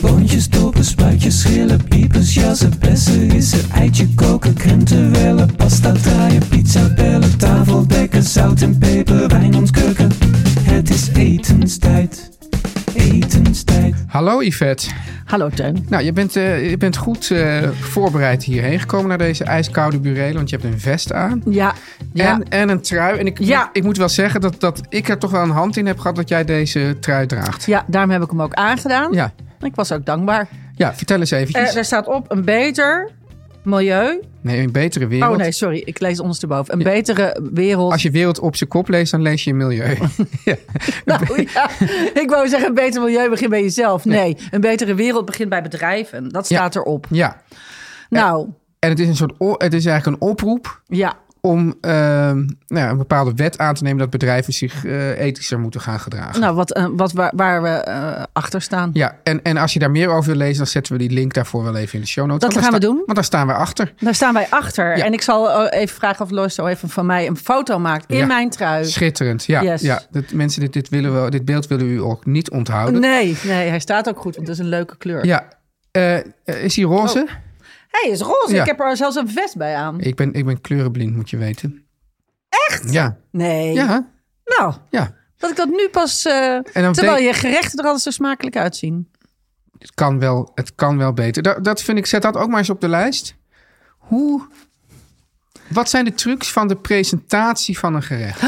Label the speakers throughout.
Speaker 1: Boontjes, dopen, spuitjes, schillen, piepers, jassen, bessen, rissen, eitje koken, krenten wellen, pasta draaien, pizza bellen, tafel dekken, zout en peper, wijn ontkurken. Het is etenstijd, etenstijd.
Speaker 2: Hallo Yvette.
Speaker 3: Hallo Teun.
Speaker 2: Nou, je bent, eh, je bent goed eh, voorbereid hierheen gekomen naar deze ijskoude burelen, want je hebt een vest aan.
Speaker 3: Ja, ja.
Speaker 2: En, en een trui. En ik,
Speaker 3: Ja.
Speaker 2: ik moet wel zeggen dat, dat ik er toch wel een hand in heb gehad dat jij deze trui draagt.
Speaker 3: ja, daarom heb ik hem ook aangedaan.
Speaker 2: Ja,
Speaker 3: Ik was ook dankbaar.
Speaker 2: ja vertel eens eventjes.
Speaker 3: Eh, er staat op een beter milieu.
Speaker 2: nee, een betere wereld.
Speaker 3: Oh nee, sorry. Ik lees ondersteboven. Een betere wereld.
Speaker 2: Als je wereld op zijn kop leest, dan lees je milieu. ja.
Speaker 3: Nou, ja. Ik wou zeggen, een beter milieu begint bij jezelf. Nee, een betere wereld begint bij bedrijven. Dat
Speaker 2: Ja.
Speaker 3: staat erop.
Speaker 2: ja.
Speaker 3: Nou,
Speaker 2: En het is, een soort, o- het is eigenlijk een oproep
Speaker 3: ja.
Speaker 2: om ehm, nou ja, een bepaalde wet aan te nemen dat bedrijven zich eh, ethischer moeten gaan gedragen.
Speaker 3: Nou, wat, eh, wat, waar, waar we eh, achter staan.
Speaker 2: Ja, en, en als je daar meer over wil lezen, dan zetten we die link daarvoor wel even in de show notes.
Speaker 3: Dat
Speaker 2: Want
Speaker 3: gaan
Speaker 2: daar
Speaker 3: we
Speaker 2: sta-
Speaker 3: doen.
Speaker 2: Want daar staan we achter.
Speaker 3: Daar staan wij achter.
Speaker 2: Ja.
Speaker 3: En ik zal eh, even vragen of Lois zo even van mij een foto maakt in
Speaker 2: Ja.
Speaker 3: mijn trui.
Speaker 2: Schitterend. Ja,
Speaker 3: Yes.
Speaker 2: ja dat, mensen, dit, dit, willen we, dit beeld willen we u ook niet onthouden.
Speaker 3: Nee, nee, hij staat ook goed, want het is een leuke kleur.
Speaker 2: Ja. Eh, eh, is die roze?
Speaker 3: Oh. Hij is roze.
Speaker 2: Ja.
Speaker 3: Ik heb er zelfs een vest bij aan.
Speaker 2: Ik, ben, ik ben kleurenblind, moet je weten. Echt? Ja.
Speaker 3: Nee.
Speaker 2: Ja.
Speaker 3: Nou,
Speaker 2: ja.
Speaker 3: dat ik dat nu pas. eh,
Speaker 2: dan
Speaker 3: terwijl
Speaker 2: denk-
Speaker 3: je gerechten er altijd zo smakelijk uitzien.
Speaker 2: Het, kan wel, het kan wel beter. Dat, dat vind ik, zet dat ook maar eens op de lijst. Hoe... Wat zijn de trucs van de presentatie van een gerecht?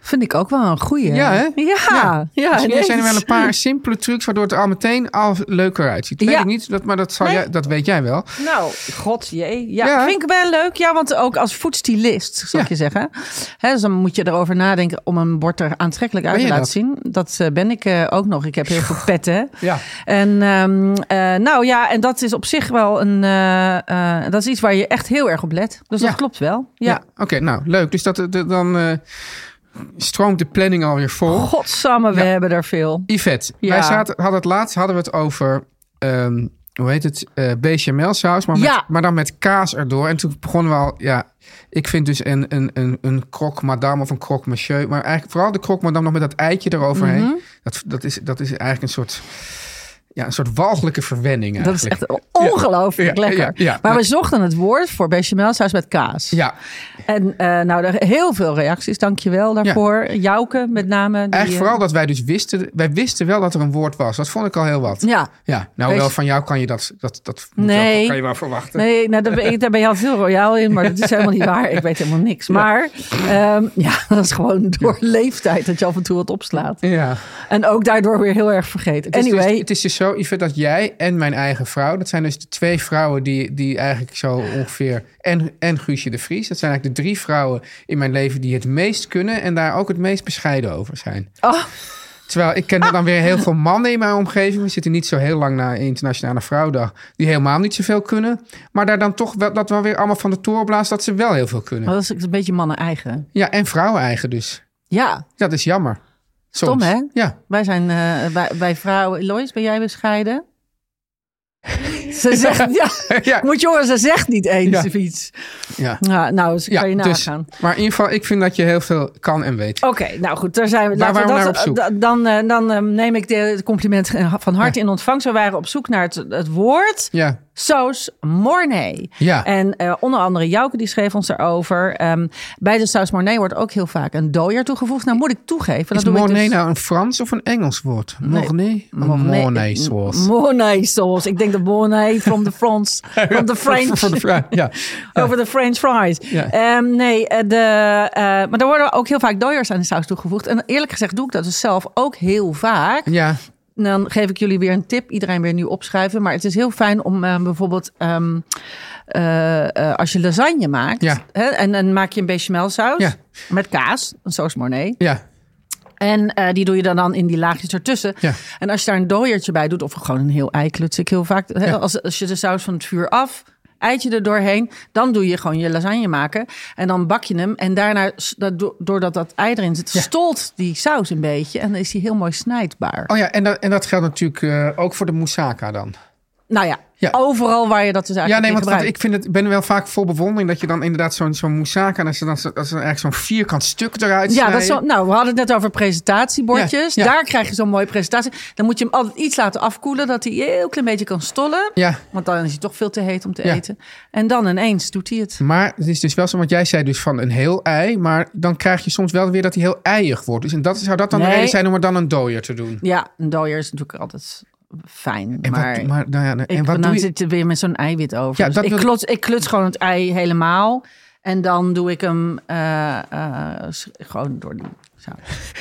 Speaker 3: Vind ik ook wel een goeie.
Speaker 2: Ja, hè?
Speaker 3: Ja, ja.
Speaker 2: Misschien
Speaker 3: ineens.
Speaker 2: zijn er wel een paar simpele trucs waardoor het er al meteen al leuker uitziet. Dat
Speaker 3: Ja.
Speaker 2: weet ik niet, dat, maar dat, zal
Speaker 3: Nee.
Speaker 2: jij, dat weet jij wel.
Speaker 3: Nou, god jee. Ja,
Speaker 2: Ja.
Speaker 3: vind ik wel leuk. Ja, want ook als voedstylist, zal ik
Speaker 2: Ja.
Speaker 3: je zeggen. Hè, dus dan moet je erover nadenken om een bord er aantrekkelijk uit
Speaker 2: Ben
Speaker 3: te
Speaker 2: je
Speaker 3: laten
Speaker 2: dat?
Speaker 3: zien. Dat eh, ben ik eh, ook nog. Ik heb heel veel petten.
Speaker 2: Ja.
Speaker 3: En ehm, eh, nou ja, en dat is op zich wel een. eh, eh, dat is iets waar je echt heel erg op let. Dus
Speaker 2: Ja.
Speaker 3: dat klopt wel.
Speaker 2: Ja.
Speaker 3: Ja.
Speaker 2: Oké, nou leuk. Dus dat, dat- dan eh, stroomt de planning alweer vol.
Speaker 3: Oh. Godsamme, we
Speaker 2: Ja.
Speaker 3: hebben er veel.
Speaker 2: Yvette,
Speaker 3: Ja.
Speaker 2: wij zaten, hadden het laatst hadden we het over, ehm, hoe heet het, eh bechamel saus, maar,
Speaker 3: Ja.
Speaker 2: met, maar dan met kaas erdoor. En toen begonnen we al, ja, ik vind dus een, een, een, een croque madame of een croque monsieur, maar eigenlijk vooral de croque madame nog met dat eitje eroverheen.
Speaker 3: Mhm.
Speaker 2: dat, dat, is, dat is eigenlijk een soort, ja, een soort walgelijke verwenning
Speaker 3: Dat is
Speaker 2: eigenlijk.
Speaker 3: echt ongelooflijk
Speaker 2: Ja, ja,
Speaker 3: lekker.
Speaker 2: ja, ja.
Speaker 3: maar we zochten het woord voor bechamelsaus met kaas.
Speaker 2: Ja,
Speaker 3: En eh, nou, er heel veel reacties. Dankjewel daarvoor. Jouke met name. die,
Speaker 2: eigenlijk
Speaker 3: eh,
Speaker 2: vooral dat wij dus wisten, wij wisten wel dat er een woord was. Dat vond ik al heel wat.
Speaker 3: Ja.
Speaker 2: Ja, nou
Speaker 3: Wees-
Speaker 2: wel van jou kan je dat, dat, dat moet
Speaker 3: Nee.
Speaker 2: wel- kan je wel verwachten.
Speaker 3: Nee, nou, daar, ben, ik- daar ben je altijd heel royaal in, maar dat is helemaal niet waar. Ik weet helemaal niks. Maar ehm, ja, dat is gewoon door leeftijd dat je af en toe wat opslaat.
Speaker 2: Ja.
Speaker 3: En ook daardoor weer heel erg vergeten.
Speaker 2: Het is
Speaker 3: Anyway,
Speaker 2: dus, het is dus zo, Yvette, dat jij en mijn eigen vrouw... dat zijn dus de twee vrouwen die, die eigenlijk zo ongeveer... En, en Guusje de Vries, dat zijn eigenlijk de drie vrouwen in mijn leven... die het meest kunnen en daar ook het meest bescheiden over zijn.
Speaker 3: Oh.
Speaker 2: Terwijl ik ken er dan weer heel veel mannen in mijn omgeving. We zitten niet zo heel lang na Internationale Vrouwdag... die helemaal niet zoveel kunnen. Maar daar dan toch wel, dat wel weer allemaal van de toren blaast... dat ze wel heel veel kunnen.
Speaker 3: maar dat is een beetje mannen eigen.
Speaker 2: Ja, en vrouwen eigen dus.
Speaker 3: Ja,
Speaker 2: Dat is jammer. Soms.
Speaker 3: Stom, hè?
Speaker 2: Ja.
Speaker 3: wij zijn eh, bij, bij vrouwen. Lois, ben jij bescheiden? Ze zegt, ja,
Speaker 2: Ja.
Speaker 3: moet je horen, ze zegt niet eens
Speaker 2: Ja.
Speaker 3: of iets.
Speaker 2: Ja.
Speaker 3: Ja, nou, dus kan je
Speaker 2: dus-
Speaker 3: nagaan.
Speaker 2: maar in ieder geval, ik vind dat je heel veel kan en weet.
Speaker 3: Oké, nou goed, daar zijn we.
Speaker 2: Waar
Speaker 3: laten we
Speaker 2: waren we
Speaker 3: dat-
Speaker 2: naar op
Speaker 3: da- Dan, eh, dan eh, neem ik de- het compliment van harte in ontvangst. We waren op zoek naar het, het woord
Speaker 2: Ja,
Speaker 3: saus mornay.
Speaker 2: Ja.
Speaker 3: En eh, onder andere Jouke die schreef ons daarover. Ehm, bij de saus mornay wordt ook heel vaak een dooier toegevoegd. Nou moet ik toegeven.
Speaker 2: Is
Speaker 3: Dat doe ik
Speaker 2: Mornay
Speaker 3: dus-
Speaker 2: nou een Frans of een Engels woord? Mornay?
Speaker 3: Mornay-
Speaker 2: Mornay sauce.
Speaker 3: Mornay sauce. Ik denk de mornay from the France. From the French.
Speaker 2: Voor de vraag, ja.
Speaker 3: Over de French fries.
Speaker 2: Oh. Ja.
Speaker 3: Ehm, nee, eh, de, eh, maar er worden ook heel vaak dooiers aan de saus toegevoegd. En eerlijk gezegd doe ik dat dus zelf ook heel vaak.
Speaker 2: Ja,
Speaker 3: En Dan geef ik jullie weer een tip. Iedereen weer nu opschrijven. Maar het is heel fijn om eh, bijvoorbeeld... ehm, eh, eh, als je lasagne maakt...
Speaker 2: Ja.
Speaker 3: Hè, en dan maak je een bechamel saus
Speaker 2: Ja.
Speaker 3: met kaas, een saus mornay.
Speaker 2: ja.
Speaker 3: En eh, die doe je dan, dan in die laagjes ertussen.
Speaker 2: Ja.
Speaker 3: En als je daar een dooiertje bij doet, of gewoon een heel ei kluts ik heel vaak. hè, als, als je de saus van het vuur af, eitje er doorheen, dan doe je gewoon je lasagne maken. En dan bak je hem. En daarna, s- dat- do- doordat dat ei erin zit, stolt die saus een beetje. En dan is die heel mooi snijdbaar.
Speaker 2: Oh ja, en dat, en dat geldt natuurlijk eh, ook voor de moussaka dan.
Speaker 3: Nou ja,
Speaker 2: Ja.
Speaker 3: overal waar je dat dus
Speaker 2: Ja,
Speaker 3: eigenlijk
Speaker 2: nee,
Speaker 3: in
Speaker 2: want dat-
Speaker 3: gebruikt.
Speaker 2: ik vind het, ik ben er wel vaak vol bewondering dat je dan inderdaad zo'n zo'n moussaka... en als je dan, zo- als er eigenlijk zo'n vierkant stuk eruit
Speaker 3: Ja, dat
Speaker 2: snijden.
Speaker 3: is zo, nou, we hadden het net over presentatiebordjes.
Speaker 2: Ja, ja.
Speaker 3: Daar krijg je zo'n mooie presentatie. Dan moet je hem altijd iets laten afkoelen, dat hij een heel klein beetje kan stollen.
Speaker 2: Ja,
Speaker 3: Want dan is hij toch veel te heet om te
Speaker 2: Ja.
Speaker 3: eten. En dan ineens doet hij het.
Speaker 2: maar het is dus wel zo, want jij zei dus van een heel ei... maar dan krijg je soms wel weer dat hij heel eiig wordt. Dus en dat zou dat dan
Speaker 3: Nee.
Speaker 2: de reden zijn om er dan een dooier te doen?
Speaker 3: Ja, een dooier is natuurlijk altijd fijn.
Speaker 2: En
Speaker 3: maar
Speaker 2: wat, maar, nou ja, en
Speaker 3: ik,
Speaker 2: wat
Speaker 3: dan
Speaker 2: doe je?
Speaker 3: zit er weer met zo'n eiwit over.
Speaker 2: Ja,
Speaker 3: Dus
Speaker 2: dat
Speaker 3: ik,
Speaker 2: wil-
Speaker 3: kluts, ik kluts gewoon het ei helemaal. En dan doe ik hem eh, eh, s- gewoon door die saus.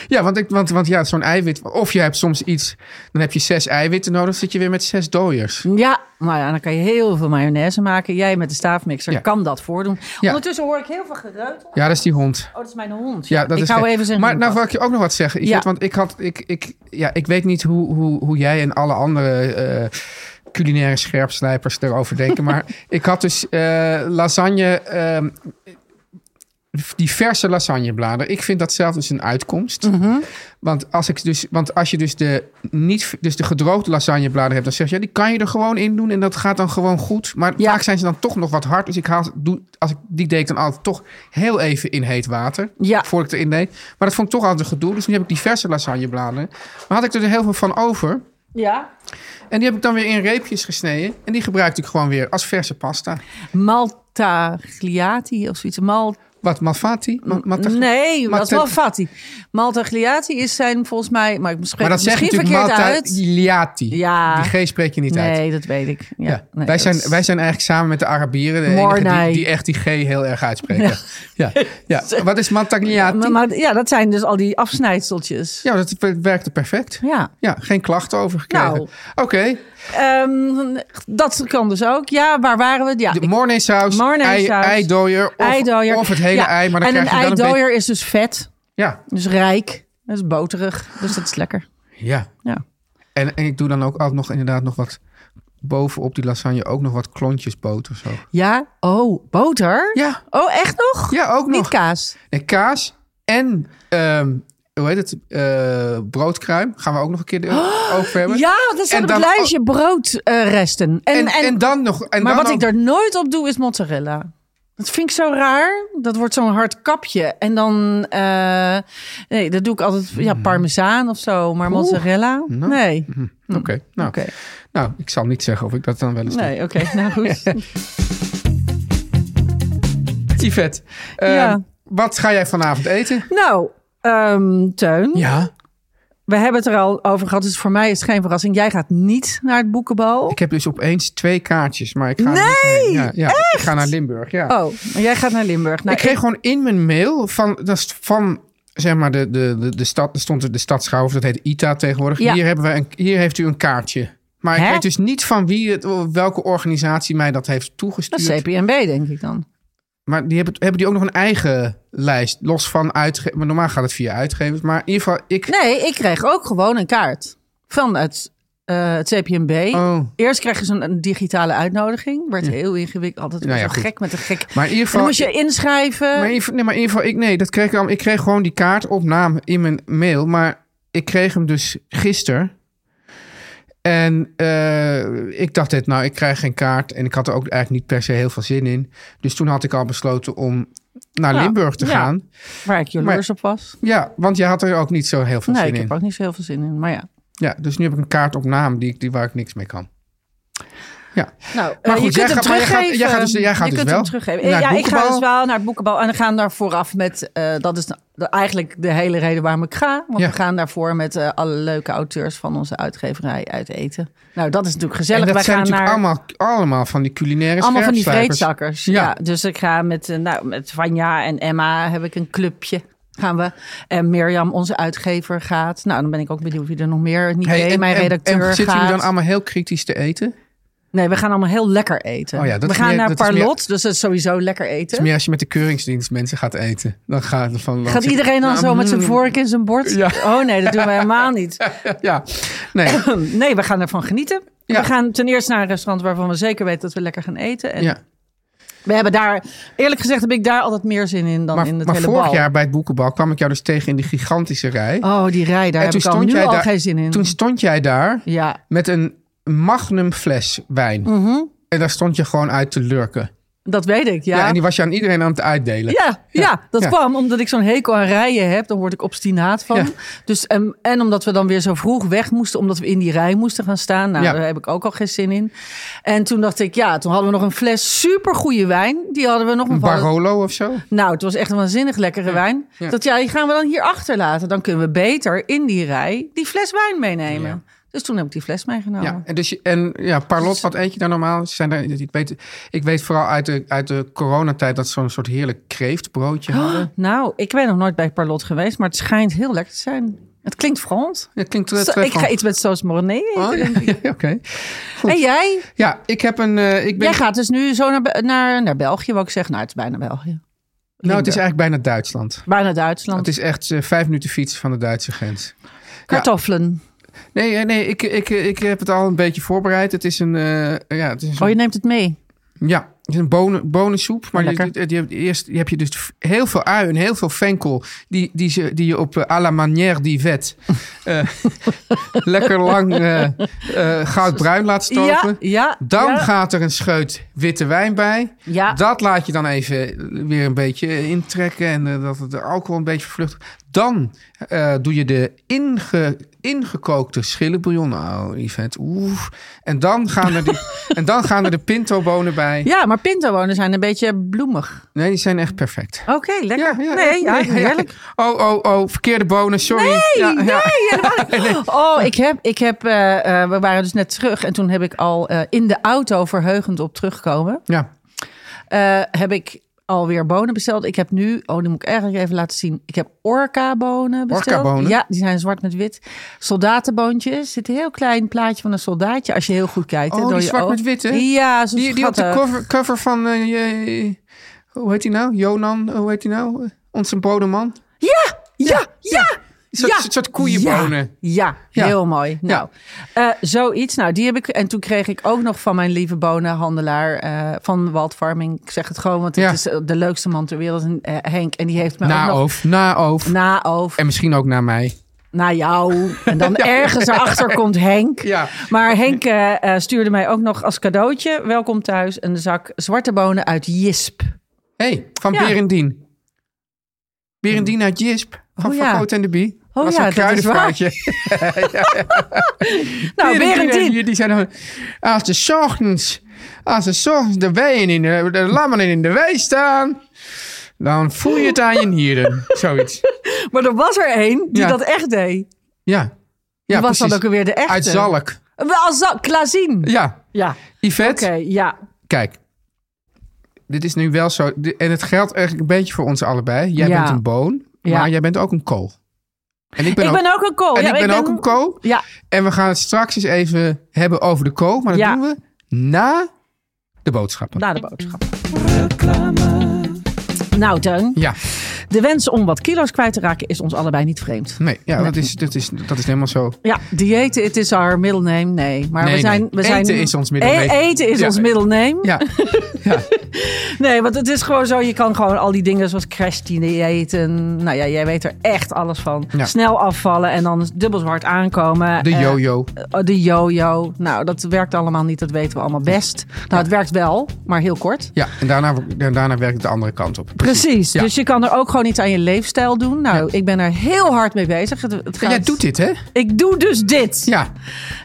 Speaker 2: Ja, want, ik, want, want ja, zo'n eiwit... of je hebt soms iets, dan heb je zes eiwitten nodig... zit je weer met zes dooiers.
Speaker 3: Ja, nou ja, dan kan je heel veel mayonaise maken. Jij met de staafmixer
Speaker 2: Ja.
Speaker 3: kan dat voordoen.
Speaker 2: Ja.
Speaker 3: Ondertussen hoor ik heel veel gereutel.
Speaker 2: Ja, dat is die hond.
Speaker 3: Oh, dat is mijn hond.
Speaker 2: Ja, dat
Speaker 3: ik
Speaker 2: is
Speaker 3: hou
Speaker 2: gek.
Speaker 3: even zijn
Speaker 2: Maar
Speaker 3: hond
Speaker 2: nou
Speaker 3: af.
Speaker 2: wil ik je ook nog wat zeggen. Yvette,
Speaker 3: Ja.
Speaker 2: Want ik had, ik, ik, ja, ik weet niet hoe, hoe, hoe jij en alle andere eh, culinaire scherpslijpers erover denken. maar ik had dus eh, lasagne, ehm, die verse lasagnebladen. Ik vind dat zelf dus een uitkomst.
Speaker 3: Mhm.
Speaker 2: Want als ik dus, want als je dus de niet, dus de gedroogde lasagnebladen hebt, dan zeg je, ja, die kan je er gewoon in doen en dat gaat dan gewoon goed. Maar
Speaker 3: Ja.
Speaker 2: vaak zijn ze dan toch nog wat hard. Dus ik haal, doe, als ik die deed ik dan altijd toch heel even in heet water
Speaker 3: Ja.
Speaker 2: voor ik erin deed. Maar dat vond ik toch altijd een gedoe. Dus nu heb ik diverse lasagnebladen. Maar had ik er heel veel van over.
Speaker 3: Ja.
Speaker 2: En die heb ik dan weer in reepjes gesneden. En die gebruikte ik gewoon weer als verse pasta.
Speaker 3: Maltagliati of zoiets. Mal
Speaker 2: Wat malfatti? Ma- matta-
Speaker 3: nee, dat is
Speaker 2: matta-
Speaker 3: wel Fatti. Maltagliati is zijn volgens mij, maar ik spreek
Speaker 2: Maar dat
Speaker 3: het
Speaker 2: zeg je
Speaker 3: misschien
Speaker 2: natuurlijk
Speaker 3: verkeerd uit.
Speaker 2: maltagliati.
Speaker 3: Ja.
Speaker 2: Die G spreek je niet uit.
Speaker 3: Nee, dat weet ik. Ja,
Speaker 2: Ja. wij,
Speaker 3: nee, dat
Speaker 2: zijn,
Speaker 3: is-
Speaker 2: wij zijn eigenlijk samen met de Arabieren de enigen
Speaker 3: Mornay.
Speaker 2: die, die echt die G heel erg uitspreken. Ja. Ja. Wat is maltagliati?
Speaker 3: Maar, maar- ja, dat zijn dus al die afsnijdseltjes.
Speaker 2: Ja, dat werkte perfect.
Speaker 3: Ja.
Speaker 2: Ja, geen klachten over gekregen.
Speaker 3: Nou.
Speaker 2: Oké,
Speaker 3: Ehm, dat kan dus ook. Ja, waar waren we? Ja,
Speaker 2: de
Speaker 3: ik-
Speaker 2: mornaysaus, ei,
Speaker 3: Mornaysaus,
Speaker 2: eidooier, of,
Speaker 3: eidooier.
Speaker 2: of het hele
Speaker 3: Ja,
Speaker 2: ei. Maar dan
Speaker 3: en
Speaker 2: krijg
Speaker 3: een
Speaker 2: je dan een beetje...
Speaker 3: eidooier is dus vet,
Speaker 2: Ja,
Speaker 3: dus rijk, dus boterig. Dus dat is lekker.
Speaker 2: ja.
Speaker 3: Ja.
Speaker 2: En, en ik doe dan ook altijd nog inderdaad nog wat... bovenop die lasagne ook nog wat klontjes boter. Zo.
Speaker 3: Ja, oh, boter?
Speaker 2: Ja,
Speaker 3: Oh, echt nog?
Speaker 2: ja, ook
Speaker 3: Niet
Speaker 2: nog.
Speaker 3: kaas.
Speaker 2: En kaas en... ehm, hoe heet het? eh, broodkruim. Gaan we ook nog een keer de- over hebben.
Speaker 3: Oh, Ja, dat zijn
Speaker 2: En
Speaker 3: op het
Speaker 2: dan-
Speaker 3: lijstje broodresten. en,
Speaker 2: en, en, dan nog... En
Speaker 3: Maar
Speaker 2: dan
Speaker 3: wat ik
Speaker 2: nog-
Speaker 3: er nooit op doe is mozzarella. Dat vind ik zo raar. Dat wordt zo'n hard kapje. En dan, eh, nee, dat doe ik altijd, ja, parmezaan of zo. Maar mozzarella? Nee.
Speaker 2: Oké, Mhm. nou,
Speaker 3: Oké,
Speaker 2: nou, ik zal niet zeggen of ik dat dan wel eens doe.
Speaker 3: nee, oké. Nou goed.
Speaker 2: Yvette, ehm,
Speaker 3: Ja.
Speaker 2: wat ga jij vanavond eten?
Speaker 3: nou, ehm, Teun,
Speaker 2: Ja.
Speaker 3: we hebben het er al over gehad. Dus voor mij is het geen verrassing. Jij gaat niet naar het boekenbal.
Speaker 2: Ik heb dus opeens twee kaartjes, maar ik ga er
Speaker 3: Nee,
Speaker 2: niet heen. Ja, ja, Ik ga naar Limburg, ja.
Speaker 3: Oh, maar jij gaat naar Limburg. Nou,
Speaker 2: ik kreeg gewoon in mijn mail van, dat is van zeg maar, de, de, de, de stad, er stond de stad Schouw, of dat heet ITA tegenwoordig.
Speaker 3: Ja.
Speaker 2: Hier, hebben wij een, hier heeft u een kaartje. Maar ik
Speaker 3: Hè?
Speaker 2: weet dus niet van wie het, welke organisatie mij dat heeft
Speaker 3: dat
Speaker 2: toegestuurd.
Speaker 3: is CPNB, denk ik dan.
Speaker 2: Maar die hebben, hebben die ook nog een eigen lijst, los van uitgevers. Maar normaal gaat het via uitgevers. Maar in ieder geval, ik...
Speaker 3: Nee, ik kreeg ook gewoon een kaart vanuit eh het CPMB.
Speaker 2: Oh.
Speaker 3: Eerst kreeg je zo'n een digitale uitnodiging. Werd heel ingewikkeld. Altijd
Speaker 2: Nou ja,
Speaker 3: zo
Speaker 2: goed.
Speaker 3: gek met een gek.
Speaker 2: Maar in ieder
Speaker 3: En dan
Speaker 2: geval...
Speaker 3: moest je inschrijven.
Speaker 2: Maar in, ieder geval- nee, maar in ieder geval, ik, nee, dat kreeg ik, allemaal- ik kreeg gewoon die kaartopname in mijn mail. Maar ik kreeg hem dus gisteren. En eh, ik dacht dit, nou, ik krijg geen kaart. En ik had er ook eigenlijk niet per se heel veel zin in. Dus toen had ik al besloten om naar
Speaker 3: Ja,
Speaker 2: Limburg te
Speaker 3: Nou, ja.
Speaker 2: gaan.
Speaker 3: Waar ik jaloers
Speaker 2: maar-
Speaker 3: op was.
Speaker 2: Ja, want jij had er ook niet zo heel veel
Speaker 3: Nee,
Speaker 2: zin
Speaker 3: ik
Speaker 2: in.
Speaker 3: heb ook niet zo heel veel zin in. Maar ja.
Speaker 2: Ja, dus nu heb ik een kaartopname die, ik- die, waar ik niks mee kan. Ja.
Speaker 3: Nou, eh,
Speaker 2: Maar goed,
Speaker 3: je kunt
Speaker 2: jij
Speaker 3: hem
Speaker 2: gaat- maar jij gaat-
Speaker 3: teruggeven.
Speaker 2: jij gaat dus- jij gaat
Speaker 3: je
Speaker 2: dus
Speaker 3: kunt
Speaker 2: wel
Speaker 3: hem teruggeven.
Speaker 2: naar
Speaker 3: ja,
Speaker 2: het
Speaker 3: ik ga dus
Speaker 2: boekenbal.
Speaker 3: wel naar het boekenbal. En we gaan daar vooraf met... eh, dat is de- eigenlijk de hele reden waarom ik ga. Want
Speaker 2: Ja.
Speaker 3: we gaan daarvoor met eh, alle leuke auteurs van onze uitgeverij uit eten. Nou, dat is natuurlijk gezellig.
Speaker 2: en dat
Speaker 3: Wij
Speaker 2: zijn
Speaker 3: gaan
Speaker 2: natuurlijk
Speaker 3: naar...
Speaker 2: allemaal, allemaal van die culinaire
Speaker 3: Allemaal van die
Speaker 2: scherpslijpers.
Speaker 3: vreedzakkers. Ja.
Speaker 2: Ja.
Speaker 3: dus ik ga met, eh, nou, met Vanja en Emma heb ik een clubje. Gaan we. En Mirjam, onze uitgever, gaat. Nou, dan ben ik ook benieuwd wie er nog meer. Niké,
Speaker 2: Hey, en,
Speaker 3: mijn
Speaker 2: en-
Speaker 3: redacteur,
Speaker 2: en zitten
Speaker 3: gaat.
Speaker 2: jullie dan allemaal heel kritisch te eten?
Speaker 3: Nee, we gaan allemaal heel lekker eten.
Speaker 2: Oh ja, dat
Speaker 3: we
Speaker 2: is
Speaker 3: gaan
Speaker 2: meer-
Speaker 3: naar
Speaker 2: dat is meer-
Speaker 3: Parlot, dus dat is sowieso lekker
Speaker 2: Het
Speaker 3: eten.
Speaker 2: is meer als je met de keuringsdienst mensen gaat eten. Dan gaat, het van, dan
Speaker 3: Gaat
Speaker 2: zeg-
Speaker 3: iedereen dan
Speaker 2: Nou,
Speaker 3: zo met zijn
Speaker 2: mm,
Speaker 3: vork in zijn bord?
Speaker 2: Ja.
Speaker 3: Oh nee, dat doen wij helemaal niet.
Speaker 2: Ja, nee.
Speaker 3: Nee, we gaan ervan genieten.
Speaker 2: Ja.
Speaker 3: We gaan ten eerste naar een restaurant waarvan we zeker weten dat we lekker gaan eten. En
Speaker 2: ja.
Speaker 3: we hebben daar, eerlijk gezegd, heb ik daar altijd meer zin in dan
Speaker 2: Maar,
Speaker 3: in het
Speaker 2: maar
Speaker 3: hele
Speaker 2: vorig
Speaker 3: bal.
Speaker 2: jaar bij het boekenbal kwam ik jou dus tegen in die gigantische rij.
Speaker 3: Oh, die rij, daar
Speaker 2: En
Speaker 3: heb ik al, nu al
Speaker 2: daar,
Speaker 3: geen zin in.
Speaker 2: Toen stond jij daar
Speaker 3: Ja,
Speaker 2: met een magnum fles wijn. En daar stond je gewoon uit te lurken.
Speaker 3: dat weet ik,
Speaker 2: Ja.
Speaker 3: Mhm. ja.
Speaker 2: en die was je aan iedereen aan het uitdelen.
Speaker 3: Ja, ja, dat
Speaker 2: ja.
Speaker 3: kwam omdat ik zo'n hekel aan rijden heb. Dan word ik obstinaat van.
Speaker 2: Ja.
Speaker 3: Dus, en, en omdat we dan weer zo vroeg weg moesten, omdat we in die rij moesten gaan staan. Nou,
Speaker 2: Ja.
Speaker 3: daar heb ik ook al geen zin in. En toen dacht ik, ja, toen hadden we nog een fles supergoeie wijn. Die hadden we nog
Speaker 2: Een
Speaker 3: een vallen-
Speaker 2: Barolo of zo.
Speaker 3: Nou, het was echt een waanzinnig lekkere wijn.
Speaker 2: Ja.
Speaker 3: Dat ja, die gaan we dan hier achterlaten. Dan kunnen we beter in die rij die fles wijn meenemen.
Speaker 2: Ja.
Speaker 3: Dus toen heb ik die fles meegenomen.
Speaker 2: Ja, en, dus, je- en ja, Parlot, wat eet je daar normaal? Ze Zijn daar, ik, weet, ik weet vooral uit de, uit de coronatijd dat ze zo'n soort heerlijk kreeftbroodje hadden.
Speaker 3: Nou, ik ben nog nooit bij Parlot geweest, maar het schijnt heel lekker te zijn. Het klinkt Frans.
Speaker 2: Dat klinkt eh,
Speaker 3: Zo- ik
Speaker 2: treffend.
Speaker 3: ga iets met sauce Mornay eten.
Speaker 2: Oh, ja, ja, oké. Goed.
Speaker 3: En jij?
Speaker 2: Ja, ik heb een. eh, ik ben,
Speaker 3: Jij gaat dus nu zo naar, Be- naar, naar België, wou ik zeggen. Nou, het is bijna België.
Speaker 2: nou, het is eigenlijk bijna Duitsland.
Speaker 3: Bijna Duitsland.
Speaker 2: Het is echt eh, vijf minuten fietsen van de Duitse grens.
Speaker 3: Kartoffelen.
Speaker 2: Nee, eh, nee ik, ik, ik heb het al een beetje voorbereid. Het is een. eh, ja, het is een
Speaker 3: Oh, je neemt het mee.
Speaker 2: Ja, het is een bonen, bonensoep. Maar die,
Speaker 3: Oh, Lekker.
Speaker 2: die, die heb- eerst die heb je dus f- heel veel ui en heel veel venkel. Die, die, ze, die je op eh, à la manière die vet eh, lekker lang eh eh, goudbruin laat stoven.
Speaker 3: Ja, ja.
Speaker 2: Dan
Speaker 3: ja,
Speaker 2: gaat er een scheut witte wijn bij.
Speaker 3: Ja.
Speaker 2: Dat laat je dan even weer een beetje intrekken. En eh, dat het de alcohol een beetje vlucht. Dan eh, doe je de inge, ingekookte schillenbouillon. Oh, Yvette, oef. En dan gaan er, die, en dan gaan er de pintobonen bij.
Speaker 3: Ja, maar pintawonen zijn een beetje bloemig.
Speaker 2: Nee, die zijn echt perfect.
Speaker 3: Oké, lekker. nee, ja, heerlijk.
Speaker 2: Oh, oh, oh, verkeerde bonen, sorry.
Speaker 3: Nee,
Speaker 2: Ja, ja.
Speaker 3: nee, helemaal niet. Oh, ik heb, ik heb eh, eh, we waren dus net terug en toen heb ik al eh, in de auto verheugend op terugkomen.
Speaker 2: Ja.
Speaker 3: eh, heb ik alweer bonen besteld. Ik heb nu, oh, die moet ik eigenlijk even laten zien. Ik heb orka bonen besteld.
Speaker 2: Orkabonen?
Speaker 3: Ja, die zijn zwart met wit. Soldatenboontjes. Er zit een heel klein plaatje van een soldaatje als je heel goed kijkt. hè,
Speaker 2: Oh,
Speaker 3: door
Speaker 2: die
Speaker 3: je
Speaker 2: zwart
Speaker 3: oog.
Speaker 2: met wit, hè?
Speaker 3: Ja, zo
Speaker 2: Die, die op de
Speaker 3: schattig.
Speaker 2: cover, cover van, eh, je- hoe heet hij nou? Jonan, hoe heet hij nou? Onze bodeman.
Speaker 3: Ja, ja, ja.
Speaker 2: Een soort- een soort koeienbonen.
Speaker 3: Ja, ja,
Speaker 2: Ja.
Speaker 3: heel mooi. Nou, eh, zoiets. Nou, die heb ik. En toen kreeg ik ook nog van mijn lieve bonenhandelaar eh, van Walt Farming. Ik zeg het gewoon, want het
Speaker 2: Ja.
Speaker 3: is eh, de leukste man ter wereld, een, eh, Henk. En die heeft me
Speaker 2: Na
Speaker 3: ook nog
Speaker 2: Oof, na Oof.
Speaker 3: na over
Speaker 2: En misschien ook naar mij.
Speaker 3: naar jou. En dan ergens erachter komt Henk.
Speaker 2: Ja.
Speaker 3: Maar Henk eh, eh, stuurde mij ook nog als cadeautje, welkom thuis, een zak zwarte bonen uit Jisp.
Speaker 2: Hé, hey, van
Speaker 3: Ja.
Speaker 2: Berendien. Berendien uit Jisp. Van
Speaker 3: Oh,
Speaker 2: Van
Speaker 3: ja.
Speaker 2: Cote en de Bie.
Speaker 3: Oh,
Speaker 2: was
Speaker 3: ja,
Speaker 2: een
Speaker 3: dat is waar.
Speaker 2: kruidenvaartje.
Speaker 3: Nou, weer een
Speaker 2: Die, die zijn dan... Als de 's ochtends... Als de 's ochtends de wijn in de... De lammen in de wei staan... Dan voel je het aan je nieren. Zoiets.
Speaker 3: Maar er was er één die
Speaker 2: Ja.
Speaker 3: dat echt deed.
Speaker 2: Ja.
Speaker 3: Die
Speaker 2: Ja,
Speaker 3: was dan
Speaker 2: precies.
Speaker 3: ook eh, weer de echte.
Speaker 2: Uit Zalk.
Speaker 3: Wel, Zal- Klaassien.
Speaker 2: Ja.
Speaker 3: Ja,
Speaker 2: Yvette.
Speaker 3: oké, ja.
Speaker 2: Kijk. Dit is nu wel zo... di- En het geldt eigenlijk een beetje voor ons allebei. Jij
Speaker 3: Ja.
Speaker 2: bent een boon.
Speaker 3: Ja.
Speaker 2: Maar jij bent ook een kool. En ik ben
Speaker 3: ik
Speaker 2: ook...
Speaker 3: ben ook een kool.
Speaker 2: en
Speaker 3: ja,
Speaker 2: ik ben ook een kool.
Speaker 3: Ja,
Speaker 2: En we gaan het straks eens even hebben over de kool. Maar dat
Speaker 3: Ja.
Speaker 2: doen we na de boodschappen.
Speaker 3: na de boodschap. Nou, Teun,
Speaker 2: Ja,
Speaker 3: de wens om wat kilo's kwijt te raken is ons allebei niet vreemd.
Speaker 2: nee, ja Dat, is, dat, is, dat is helemaal zo.
Speaker 3: Ja, diëten, het is our middle name. Nee, maar
Speaker 2: Nee,
Speaker 3: we zijn...
Speaker 2: nee.
Speaker 3: We zijn
Speaker 2: Eten is ons middle name.
Speaker 3: E- eten is
Speaker 2: Ja.
Speaker 3: ons middle name.
Speaker 2: Ja, ja.
Speaker 3: Nee, want het is gewoon zo. Je kan gewoon al die dingen zoals crashdiëten. Nou ja, jij weet er echt alles van.
Speaker 2: Ja.
Speaker 3: Snel afvallen en dan dubbel zwart aankomen.
Speaker 2: de
Speaker 3: Eh,
Speaker 2: yo-yo.
Speaker 3: eh, de yo-yo. Nou, dat werkt allemaal niet. Dat weten we allemaal best. Nou, het werkt wel, maar heel kort.
Speaker 2: Ja, en daarna, en daarna werkt het de andere kant op.
Speaker 3: Precies.
Speaker 2: Ja.
Speaker 3: Dus je kan er ook gewoon iets aan je leefstijl doen. Nou, ik ben er heel hard mee bezig. Het, het
Speaker 2: En
Speaker 3: gaat-
Speaker 2: jij doet dit, hè?
Speaker 3: Ik doe dus dit.
Speaker 2: Ja,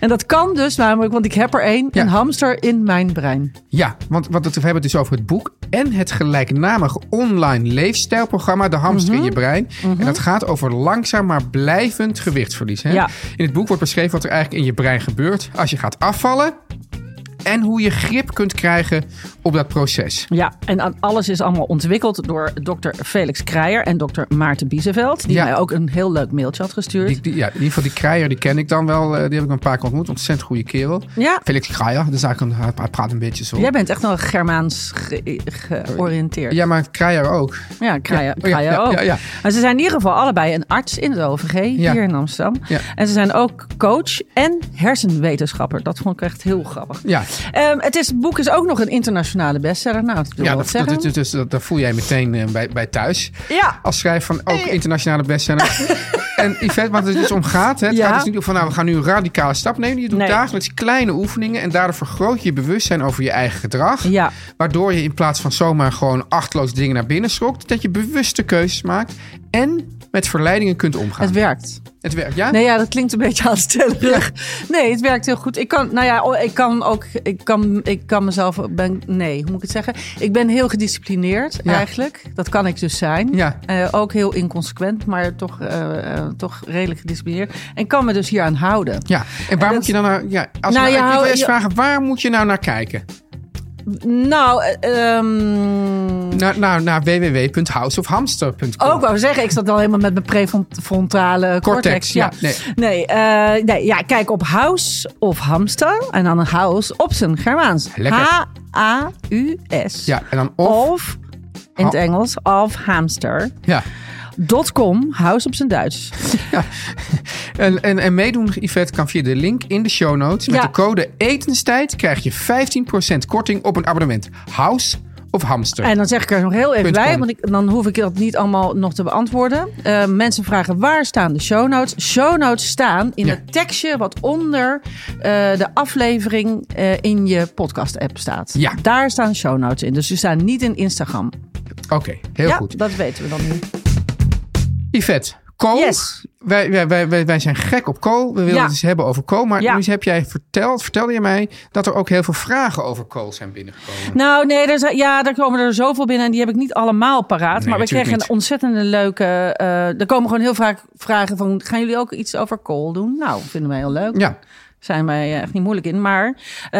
Speaker 3: En dat kan dus namelijk, want ik heb er één.
Speaker 2: Ja.
Speaker 3: Een hamster in mijn brein.
Speaker 2: ja want, want het, we hebben het dus over het boek en het gelijknamige online leefstijlprogramma De Hamster
Speaker 3: Mhm.
Speaker 2: in je Brein. En dat gaat over langzaam maar blijvend gewichtsverlies. Hè?
Speaker 3: Ja.
Speaker 2: In het boek wordt beschreven wat er eigenlijk in je brein gebeurt als je gaat afvallen en hoe je grip kunt krijgen op dat proces.
Speaker 3: Ja, en aan alles is allemaal ontwikkeld door dokter Felix Kreijer en dokter Maarten Biezenveld. Die
Speaker 2: Ja.
Speaker 3: mij ook een heel leuk mailtje had gestuurd.
Speaker 2: Die, die- ja, in ieder geval die Kreijer, die ken ik dan wel. eh, Die heb ik een paar keer ontmoet. Ontzettend goede kerel.
Speaker 3: Ja.
Speaker 2: Felix Kreijer, dat is eigenlijk een, hij praat een beetje zo.
Speaker 3: Jij bent echt wel Germaans ge- georiënteerd.
Speaker 2: Ja, maar Kreijer ook.
Speaker 3: Ja, Kraaien,
Speaker 2: Ja, oh ja, ja,
Speaker 3: ook.
Speaker 2: ja, ja.
Speaker 3: Maar ze zijn in ieder geval allebei een arts in het OVG
Speaker 2: Ja.
Speaker 3: hier in Amsterdam.
Speaker 2: Ja.
Speaker 3: En ze zijn ook coach en hersenwetenschapper. Dat vond ik echt heel grappig.
Speaker 2: Ja,
Speaker 3: Ehm, het, is, het boek is ook nog een internationale bestseller. Nou, dat wil
Speaker 2: ja
Speaker 3: wel
Speaker 2: dat,
Speaker 3: wat zeggen.
Speaker 2: dat- dus, dat, dat voel jij meteen eh, bij, bij thuis.
Speaker 3: Ja.
Speaker 2: Als schrijver van ook internationale bestseller. en Yvette, want het is om gaat. Hè, het
Speaker 3: Ja.
Speaker 2: gaat dus niet om van nou, we gaan nu een radicale stap nemen. Je doet
Speaker 3: Nee.
Speaker 2: dagelijks kleine oefeningen. En daardoor vergroot je je bewustzijn over je eigen gedrag.
Speaker 3: Ja.
Speaker 2: Waardoor je in plaats van zomaar gewoon achteloos dingen naar binnen schokt. Dat je bewuste keuzes maakt. En met verleidingen kunt omgaan.
Speaker 3: Het werkt.
Speaker 2: Het werkt, ja?
Speaker 3: Nee, ja, dat klinkt een beetje aanstellerig. Nee, het werkt heel goed. Ik kan, nou ja, oh, ik kan ook, ik kan, ik kan mezelf, ook- ben, nee, hoe moet ik het zeggen? Ik ben heel gedisciplineerd
Speaker 2: Ja.
Speaker 3: eigenlijk. Dat kan ik dus zijn.
Speaker 2: Ja.
Speaker 3: Eh, ook heel inconsequent, maar toch, eh, eh, toch redelijk gedisciplineerd. En kan me dus hier aan houden.
Speaker 2: Ja, en waar moet je dan naar... Ja, als
Speaker 3: Nou,
Speaker 2: nou,
Speaker 3: je
Speaker 2: ik wil
Speaker 3: hou-
Speaker 2: eerst
Speaker 3: je-
Speaker 2: vragen, waar moet je nou naar kijken?
Speaker 3: Nou, eh, ehm,
Speaker 2: Naar, naar, naar www.houseofhamster.com.
Speaker 3: Ook wou zeggen, ik zat al helemaal met mijn prefrontale cortex.
Speaker 2: Cortex,
Speaker 3: ja.
Speaker 2: ja.
Speaker 3: Nee, eh, nee, ja, kijk op House of Hamster en dan een House op zijn Germaans.
Speaker 2: Lekker.
Speaker 3: H-A-U-S.
Speaker 2: Ja, en dan
Speaker 3: Of,
Speaker 2: of...
Speaker 3: in het
Speaker 2: Ha-
Speaker 3: Engels, of hamster.com,
Speaker 2: Ja.
Speaker 3: House op zijn Duits.
Speaker 2: En, en, en meedoen, Yvette, kan via de link in de show notes. Met
Speaker 3: Ja.
Speaker 2: de code etenstijd krijg je 15% korting op een abonnement. House of hamster.
Speaker 3: En dan zeg ik er nog heel even
Speaker 2: Punt
Speaker 3: bij,
Speaker 2: com.
Speaker 3: want ik, dan hoef ik dat niet allemaal nog te beantwoorden. Eh, mensen vragen waar staan de show notes? Show notes staan in
Speaker 2: Ja.
Speaker 3: het tekstje wat onder eh, de aflevering eh, in je podcast app staat.
Speaker 2: Ja.
Speaker 3: Daar staan show notes in. Dus die staan niet in Instagram.
Speaker 2: Oké, heel
Speaker 3: ja,
Speaker 2: goed.
Speaker 3: dat weten we dan nu.
Speaker 2: Yvette, kool.
Speaker 3: Yes.
Speaker 2: Wij, wij, wij, wij, wij zijn gek op kool. We wilden
Speaker 3: Ja.
Speaker 2: het eens hebben over kool. Maar
Speaker 3: Ja.
Speaker 2: nu heb jij verteld, vertelde je mij, dat er ook heel veel vragen over kool zijn binnengekomen.
Speaker 3: Nou, nee, er, zijn- ja, er komen er zoveel binnen en die heb ik niet allemaal paraat. maar we
Speaker 2: natuurlijk
Speaker 3: kregen een
Speaker 2: niet.
Speaker 3: ontzettende leuke... eh, er komen gewoon heel vaak vragen van... gaan jullie ook iets over kool doen? Nou, vinden wij heel leuk.
Speaker 2: Ja,
Speaker 3: zijn wij eh, echt niet moeilijk in. Maar eh,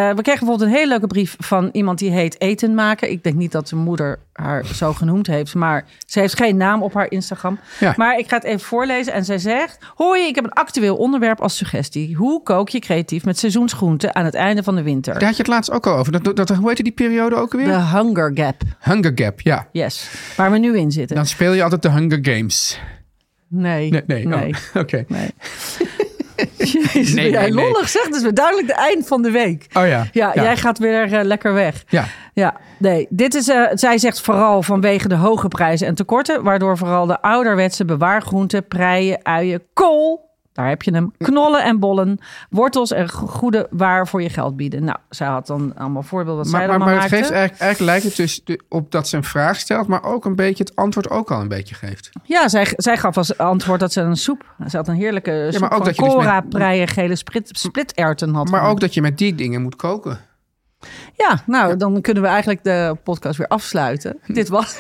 Speaker 3: we kregen bijvoorbeeld een hele leuke brief van iemand die heet Eten maken. Ik denk niet dat zijn moeder haar zo genoemd heeft, maar ze heeft geen naam op haar Instagram.
Speaker 2: Ja.
Speaker 3: Maar ik ga het even voorlezen. En zij zegt: Hoi, ik heb een actueel onderwerp als suggestie. Hoe kook je creatief met seizoensgroenten aan het einde van de winter?
Speaker 2: daar had je het laatst ook al over. Dat, dat, hoe heette die periode ook weer?
Speaker 3: De Hunger Gap.
Speaker 2: Hunger Gap, ja.
Speaker 3: Yes. Waar we nu in zitten.
Speaker 2: Dan speel je altijd de Hunger Games.
Speaker 3: Nee.
Speaker 2: Nee, nee. oh, Oké.
Speaker 3: Nee. Jezus,
Speaker 2: Nee,
Speaker 3: ben jij
Speaker 2: nee, nee.
Speaker 3: lollig zeg. Dus we duidelijk de eind van de week.
Speaker 2: Oh ja.
Speaker 3: Ja,
Speaker 2: Ja.
Speaker 3: jij gaat weer eh, lekker weg.
Speaker 2: Ja.
Speaker 3: Ja, nee. Dit is, eh, zij zegt vooral vanwege de hoge prijzen en tekorten, waardoor vooral de ouderwetse bewaargroenten, preien, uien, kool, daar heb je
Speaker 2: Mm.
Speaker 3: hem, knollen en bollen, wortels en go- goede waar voor je geld bieden. Nou, zij had dan allemaal voorbeelden wat zij
Speaker 2: Maar, maar,
Speaker 3: allemaal
Speaker 2: maar het geeft
Speaker 3: maakte.
Speaker 2: eigenlijk, eigenlijk lijkt het dus de- op dat ze een vraag stelt, maar ook een beetje het antwoord ook al een beetje geeft.
Speaker 3: Ja, zij, zij gaf als antwoord dat ze een soep, ze had een heerlijke soep
Speaker 2: ook
Speaker 3: van
Speaker 2: dat je dus met-
Speaker 3: cora, preien, gele split, spliterten had.
Speaker 2: Maar
Speaker 3: gemaakt.
Speaker 2: ook dat je met die dingen moet koken.
Speaker 3: Ja, nou, dan kunnen we eigenlijk de podcast weer afsluiten. Dit, was,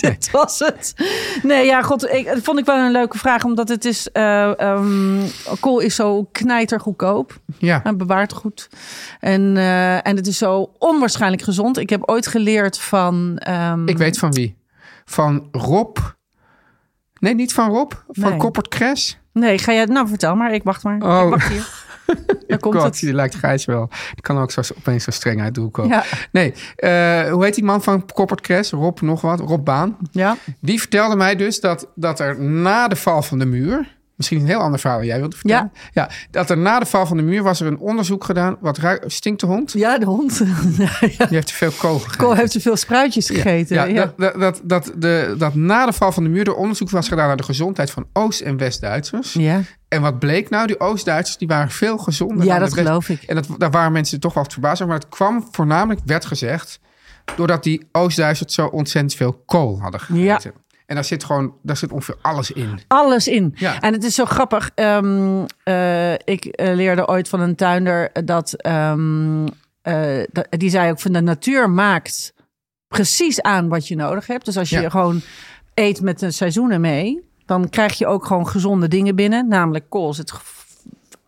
Speaker 3: dit was het. Nee, ja, god, ik, het vond ik wel een leuke vraag. Omdat het is... eh ehm, kool is zo knijtergoedkoop.
Speaker 2: Ja.
Speaker 3: En bewaard goed. En, eh, en het is zo onwaarschijnlijk gezond. Ik heb ooit geleerd van... ehm,
Speaker 2: Ik weet van wie. Van Rob. Nee, niet van Rob. Van
Speaker 3: Nee.
Speaker 2: Koppert Crash.
Speaker 3: Nee, ga jij... Nou, vertel maar. Ik wacht maar.
Speaker 2: Oh.
Speaker 3: Ik wacht hier. Daar komt
Speaker 2: God,
Speaker 3: het.
Speaker 2: die lijkt Gijs wel. Die kan ook zo, opeens zo streng uit de hoek komen.
Speaker 3: Ja.
Speaker 2: Nee, eh, hoe heet die man van Koppert Crash? Rob nog wat. Rob Baan.
Speaker 3: Ja.
Speaker 2: Die vertelde mij dus dat, dat er na de val van de muur... Misschien een heel ander verhaal dan jij wilde vertellen. Ja. dat er na de val van de muur was er een onderzoek gedaan. Wat ruikt, stinkt de hond?
Speaker 3: ja, de hond. Ja,
Speaker 2: Die heeft te veel kool gegeten.
Speaker 3: Kool heeft te veel spruitjes gegeten.
Speaker 2: Ja,
Speaker 3: Ja,
Speaker 2: Dat, dat, dat, dat, de, dat na de val van de muur er onderzoek was gedaan naar de gezondheid van Oost- en West-Duitsers.
Speaker 3: ja.
Speaker 2: En wat bleek nou? Die Oost-Duitsers die waren veel gezonder.
Speaker 3: Ja,
Speaker 2: dan de
Speaker 3: dat
Speaker 2: West-
Speaker 3: geloof ik.
Speaker 2: En dat, daar waren mensen toch wel te verbaasd over. Maar het kwam voornamelijk, werd gezegd, doordat die Oost-Duitsers zo ontzettend veel kool hadden gegeten. En daar zit gewoon, daar zit ongeveer alles in.
Speaker 3: Alles in.
Speaker 2: Ja.
Speaker 3: En het is zo grappig. Ehm, eh, ik eh, leerde ooit van een tuinder dat, ehm, eh, dat- Die zei ook van de natuur maakt precies aan wat je nodig hebt. Dus als je
Speaker 2: Ja.
Speaker 3: gewoon eet met de seizoenen mee, dan krijg je ook gewoon gezonde dingen binnen. Namelijk kool zit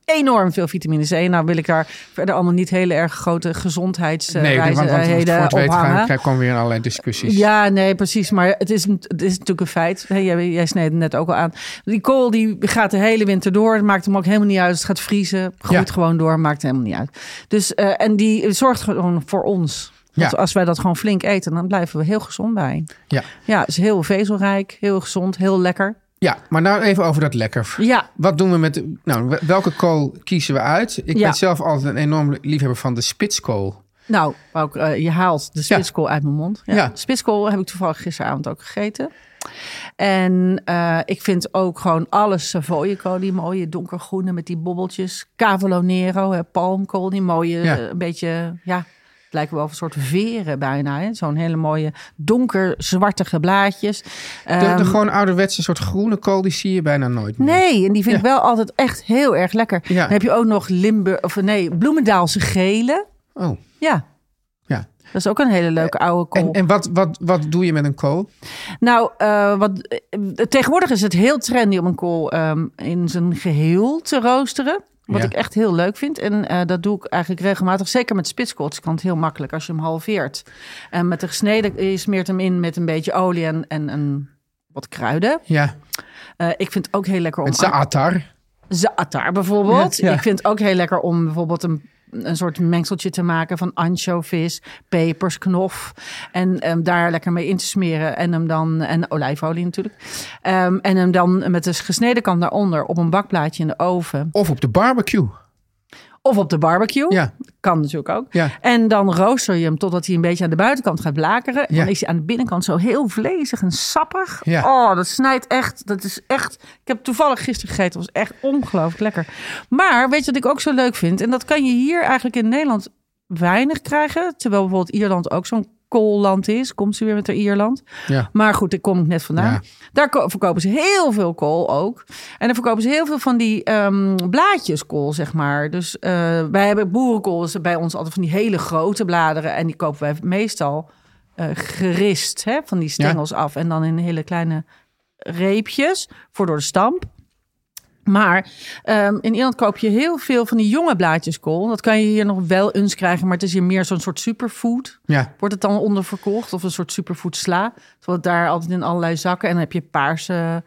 Speaker 3: enorm veel vitamine C. Nou wil ik daar verder allemaal niet hele erg grote
Speaker 2: nee, want, want, want
Speaker 3: gezondheidsreizen eh,
Speaker 2: voor het weten gaan,
Speaker 3: ophangen.
Speaker 2: krijg- komen weer allerlei discussies.
Speaker 3: Ja, nee, precies. Maar het is, het is natuurlijk een feit. Hè, Jij, jij sneed het net ook al aan. Die kool die gaat de hele winter door. Het maakt hem ook helemaal niet uit. Het gaat vriezen. Groeit
Speaker 2: Ja.
Speaker 3: gewoon door. Maakt helemaal niet uit. Dus, eh, en die zorgt gewoon voor ons. Want
Speaker 2: Ja.
Speaker 3: als wij dat gewoon flink eten, dan blijven we heel gezond bij.
Speaker 2: Ja.
Speaker 3: Ja, het is heel vezelrijk, heel gezond, heel lekker.
Speaker 2: ja, maar nou even over dat lekker.
Speaker 3: Ja,
Speaker 2: Wat doen we met... Nou, welke kool kiezen we uit? Ik
Speaker 3: Ja.
Speaker 2: ben zelf altijd een enorm liefhebber van de spitskool.
Speaker 3: nou, ook, eh, je haalt de spitskool uit mijn mond. Ja.
Speaker 2: Ja.
Speaker 3: Spitskool heb ik toevallig gisteravond ook gegeten. En eh, ik vind ook gewoon alle Savoiekool, die mooie donkergroene met die bobbeltjes. Cavolo Nero, hè, palmkool, die mooie,
Speaker 2: Ja.
Speaker 3: eh, een beetje, ja, het lijken wel een soort veren bijna. hè. Zo'n hele mooie donkerzwartige blaadjes.
Speaker 2: De,
Speaker 3: Ehm,
Speaker 2: de gewoon ouderwetse soort groene kool, die zie je bijna nooit meer.
Speaker 3: Nee, en die vind ik wel altijd echt heel erg lekker.
Speaker 2: Ja.
Speaker 3: Dan heb je ook nog Limburg, of nee, Bloemendaalse gele.
Speaker 2: Oh,
Speaker 3: Ja,
Speaker 2: ja.
Speaker 3: dat is ook een hele leuke oude kool.
Speaker 2: Eh, En, en wat, wat, wat doe je met een kool?
Speaker 3: Nou, eh, wat, eh, tegenwoordig is het heel trendy om een kool ehm, in zijn geheel te roosteren. Wat
Speaker 2: Ja.
Speaker 3: ik echt heel leuk vind. En eh, dat doe ik eigenlijk regelmatig. Zeker met spitskool. Het kan het heel makkelijk als je hem halveert. En met de gesneden, je smeert hem in met een beetje olie en, en, en wat kruiden.
Speaker 2: Ja,
Speaker 3: Eh, ik vind het ook heel lekker om...
Speaker 2: met zaatar.
Speaker 3: zaatar bijvoorbeeld.
Speaker 2: Ja, ja.
Speaker 3: Ik vind het ook heel lekker om bijvoorbeeld een, een soort mengseltje te maken van anchovies, pepers, knof. En ehm, daar lekker mee in te smeren. En hem dan, en olijfolie natuurlijk. Ehm, en hem dan met de gesneden kant daaronder op een bakplaatje in de oven.
Speaker 2: Of op de barbecue.
Speaker 3: Of op de barbecue.
Speaker 2: Ja.
Speaker 3: Kan natuurlijk ook.
Speaker 2: Ja.
Speaker 3: En dan rooster je hem totdat hij een beetje aan de buitenkant gaat blakeren. En
Speaker 2: Ja.
Speaker 3: dan is hij aan de binnenkant zo heel vlezig en sappig.
Speaker 2: Ja.
Speaker 3: Oh, dat snijdt echt. Dat is echt. Ik heb toevallig gisteren gegeten. Dat was echt ongelooflijk lekker. Maar weet je wat ik ook zo leuk vind? En dat kan je hier eigenlijk in Nederland weinig krijgen. Terwijl bijvoorbeeld Ierland ook zo'n koolland is. Komt ze weer met haar Ierland.
Speaker 2: Ja.
Speaker 3: Maar goed, daar kom ik net vandaan.
Speaker 2: Ja.
Speaker 3: Daar ko- verkopen ze heel veel kool ook. En dan verkopen ze heel veel van die ehm, blaadjeskool, zeg maar. Dus eh, wij hebben boerenkool, is bij ons altijd van die hele grote bladeren. En die kopen wij meestal eh, gerist hè, van die stengels af. En dan in hele kleine reepjes voor door de stamp. Maar ehm, in Ierland koop je heel veel van die jonge blaadjeskool. Dat kan je hier nog wel eens krijgen, maar het is hier meer zo'n soort superfood
Speaker 2: Ja,
Speaker 3: wordt het dan onderverkocht of een soort superfood sla. Terwijl het daar altijd in allerlei zakken. En dan heb je paarse,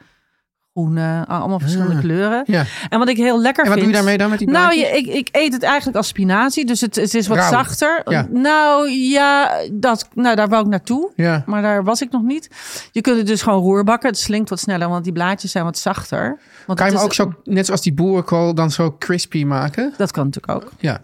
Speaker 3: groene, allemaal verschillende kleuren.
Speaker 2: Ah. ja.
Speaker 3: En wat ik heel lekker
Speaker 2: En wat
Speaker 3: vind...
Speaker 2: doe je daarmee dan met die
Speaker 3: Nou,
Speaker 2: blaadjes?
Speaker 3: je, ik, ik eet het eigenlijk als spinazie, dus het, het is wat
Speaker 2: Rauw.
Speaker 3: zachter.
Speaker 2: Ja.
Speaker 3: Nou ja, dat, nou, daar wou ik naartoe.
Speaker 2: Ja.
Speaker 3: Maar daar was ik nog niet. Je kunt het dus gewoon roerbakken. Het slinkt wat sneller, want die blaadjes zijn wat zachter. Want
Speaker 2: Kan je
Speaker 3: het
Speaker 2: hem ook
Speaker 3: is-
Speaker 2: zo, net zoals die boerenkool, dan zo crispy maken?
Speaker 3: Dat kan natuurlijk ook.
Speaker 2: Ja.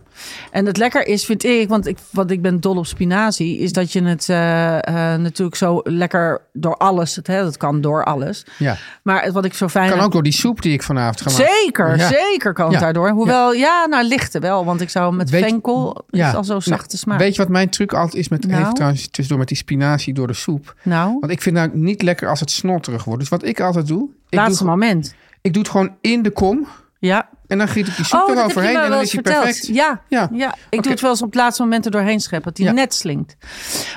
Speaker 3: En het lekker is, vind ik, want ik, want ik ben dol op spinazie, is dat je het eh, eh, natuurlijk zo lekker door alles, het, hè, dat kan door alles.
Speaker 2: Ja.
Speaker 3: Maar het, wat ik zo fijn
Speaker 2: Kan ook door die soep die ik vanavond ga maken.
Speaker 3: Zeker,
Speaker 2: Ja.
Speaker 3: zeker kan het
Speaker 2: Ja.
Speaker 3: daardoor. Hoewel, ja. nou lichte wel, want ik zou met
Speaker 2: Weet-
Speaker 3: venkel,
Speaker 2: Ja. nou,
Speaker 3: is al zo zachte smaak.
Speaker 2: Weet je wat mijn truc altijd is met
Speaker 3: Nou?
Speaker 2: even trouwens tussendoor met die spinazie door de soep?
Speaker 3: nou,
Speaker 2: Want ik vind het nou niet lekker als het snotterig wordt. Dus wat ik altijd doe, ik doe,
Speaker 3: laatste moment.
Speaker 2: ik doe het gewoon in de kom
Speaker 3: Ja.
Speaker 2: en dan giet ik die soep
Speaker 3: Oh, dat heb je
Speaker 2: eroverheen
Speaker 3: mij
Speaker 2: en
Speaker 3: wel
Speaker 2: dan
Speaker 3: eens
Speaker 2: is hij
Speaker 3: verteld.
Speaker 2: perfect.
Speaker 3: Ja,
Speaker 2: Ja.
Speaker 3: ja. ik
Speaker 2: Oké.
Speaker 3: doe het wel eens op het laatste moment er doorheen scheppen. Dat die
Speaker 2: Ja.
Speaker 3: net slinkt.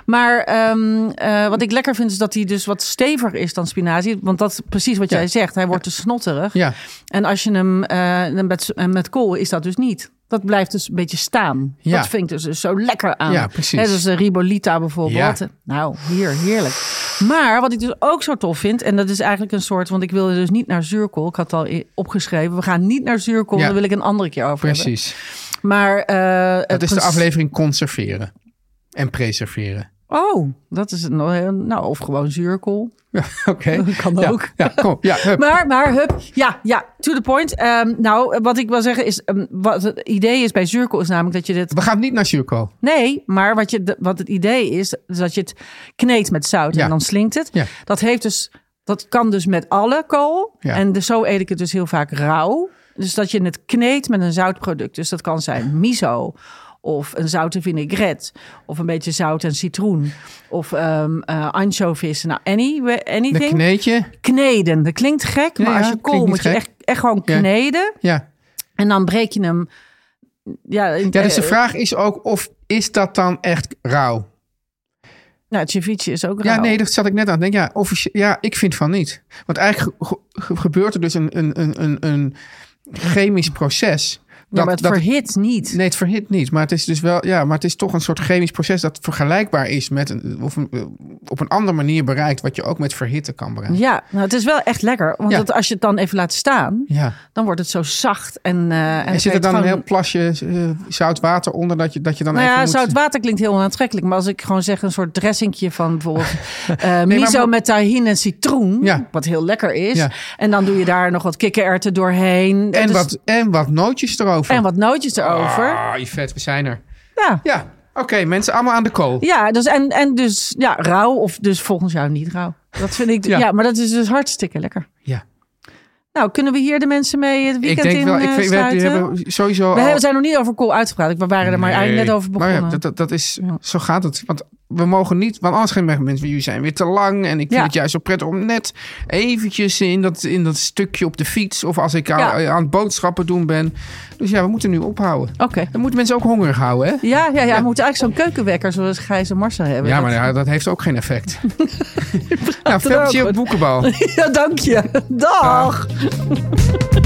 Speaker 3: Maar ehm, eh, wat ik lekker vind is dat hij dus wat steviger is dan spinazie. Want dat is precies wat
Speaker 2: Ja.
Speaker 3: jij zegt. Hij wordt te snotterig.
Speaker 2: Ja.
Speaker 3: En als je hem eh, dan met, en met kool is dat dus niet. Dat blijft dus een beetje staan.
Speaker 2: Ja.
Speaker 3: Dat vind ik dus, dus zo lekker aan.
Speaker 2: Ja, precies.
Speaker 3: Hè, dus de Ribolita bijvoorbeeld.
Speaker 2: Ja.
Speaker 3: Nou, hier, heerlijk. Maar wat ik dus ook zo tof vind, en dat is eigenlijk een soort, want ik wilde dus niet naar zuurkool. Ik had het al i- opgeschreven, we gaan niet naar zuurkool,
Speaker 2: Ja.
Speaker 3: daar wil ik een andere keer over hebben.
Speaker 2: Precies.
Speaker 3: Maar eh, het
Speaker 2: Dat is de
Speaker 3: princ-
Speaker 2: aflevering conserveren en preserveren.
Speaker 3: Oh, dat is het. nog heel- Nou, of gewoon zuurkool.
Speaker 2: Ja, Oké.
Speaker 3: Kan
Speaker 2: Ja,
Speaker 3: ook.
Speaker 2: Ja, kom. Ja, hup.
Speaker 3: Maar, maar, hup. Ja, ja, to the point. Ehm, nou, wat ik wil zeggen is, ehm, wat het idee is bij zuurkool is namelijk dat je dit...
Speaker 2: We gaan niet naar Surco.
Speaker 3: Nee, maar wat, je, wat het idee is, is dat je het kneedt met zout
Speaker 2: Ja.
Speaker 3: en dan slinkt het.
Speaker 2: Ja.
Speaker 3: Dat, heeft dus, dat kan dus met alle kool.
Speaker 2: Ja.
Speaker 3: En dus zo eet ik het dus heel vaak rauw. Dus dat je het kneedt met een zoutproduct. Dus dat kan zijn miso of een zoute vinaigrette. Of een beetje zout en citroen. Of ehm eh anchovies. Nou, any,
Speaker 2: Een
Speaker 3: anything.
Speaker 2: kneetje.
Speaker 3: Kneden. Dat klinkt gek,
Speaker 2: Ja,
Speaker 3: maar
Speaker 2: ja,
Speaker 3: als je kool
Speaker 2: klinkt niet
Speaker 3: moet je
Speaker 2: gek.
Speaker 3: echt, echt gewoon
Speaker 2: Ja.
Speaker 3: kneden.
Speaker 2: Ja.
Speaker 3: En dan breek je hem... Ja, in-
Speaker 2: ja, dus de
Speaker 3: eh,
Speaker 2: vraag is ook of is dat dan echt rauw?
Speaker 3: Nou, ceviche is ook rauw.
Speaker 2: Ja, nee, dat zat ik net aan. Ik Denk, ja, officie- ja, ik vind van niet. Want eigenlijk ge- ge- gebeurt er dus een, een, een, een, een chemisch proces.
Speaker 3: ja, maar het
Speaker 2: dat-
Speaker 3: verhit niet.
Speaker 2: Nee, het verhit niet. Maar het is dus wel, ja, maar het is toch een soort chemisch proces dat vergelijkbaar is met een, of een- op een andere manier bereikt, wat je ook met verhitten kan bereiken.
Speaker 3: Ja, nou, het is wel echt lekker. Want
Speaker 2: Ja.
Speaker 3: dat als je het dan even laat staan,
Speaker 2: Ja.
Speaker 3: dan wordt het zo zacht. En, eh, en,
Speaker 2: En
Speaker 3: dan
Speaker 2: zit
Speaker 3: kan
Speaker 2: er
Speaker 3: je
Speaker 2: dan een
Speaker 3: het gewoon-
Speaker 2: heel plasje eh, zout water onder dat je, dat je dan
Speaker 3: Nou
Speaker 2: even
Speaker 3: ja,
Speaker 2: moet...
Speaker 3: zout water klinkt heel onaantrekkelijk. Maar als ik gewoon zeg een soort dressingje van bijvoorbeeld eh miso
Speaker 2: maar-
Speaker 3: met tahine en citroen.
Speaker 2: Ja.
Speaker 3: Wat heel lekker is.
Speaker 2: Ja.
Speaker 3: En dan doe je daar nog wat kikkererwten doorheen.
Speaker 2: en,
Speaker 3: Dus-
Speaker 2: wat, en wat nootjes erover.
Speaker 3: en wat nootjes erover.
Speaker 2: Ah, Yvette, we zijn er.
Speaker 3: Ja.
Speaker 2: Ja, oké, mensen allemaal aan de kool.
Speaker 3: Ja, dus en, en dus ja, rauw of dus volgens jou niet rauw. Dat vind ik, ja.
Speaker 2: Ja.
Speaker 3: maar dat is dus hartstikke lekker.
Speaker 2: Ja.
Speaker 3: Nou, kunnen we hier de mensen mee het weekend
Speaker 2: Ik denk
Speaker 3: in
Speaker 2: wel,
Speaker 3: eh,
Speaker 2: ik vind, we
Speaker 3: sluiten?
Speaker 2: hebben sowieso
Speaker 3: We
Speaker 2: al-
Speaker 3: hebben- zijn nog niet over kool uitgepraat. We waren er maar eigenlijk
Speaker 2: Oh.
Speaker 3: net
Speaker 2: Nee.
Speaker 3: over begonnen.
Speaker 2: Maar ja, dat, dat, dat is, zo gaat het. Want we mogen niet, want anders gaan mensen, mensen, jullie zijn weer te lang. En ik vind
Speaker 3: Ja.
Speaker 2: het juist zo prettig om net eventjes in dat, in dat stukje op de fiets. Of als ik aan,
Speaker 3: Ja.
Speaker 2: aan het boodschappen doen ben. Dus ja, we moeten nu ophouden.
Speaker 3: Oké.
Speaker 2: Dan moeten mensen ook hongerig houden, hè?
Speaker 3: Ja, ja, ja, we moeten eigenlijk zo'n keukenwekker zoals Gijs en Marcel hebben.
Speaker 2: Ja,
Speaker 3: Dat-
Speaker 2: maar ja, dat heeft ook geen effect. nou, veel
Speaker 3: ook
Speaker 2: plezier op
Speaker 3: goed.
Speaker 2: boekenbal.
Speaker 3: Ja, dank je. Dag.
Speaker 2: Dag.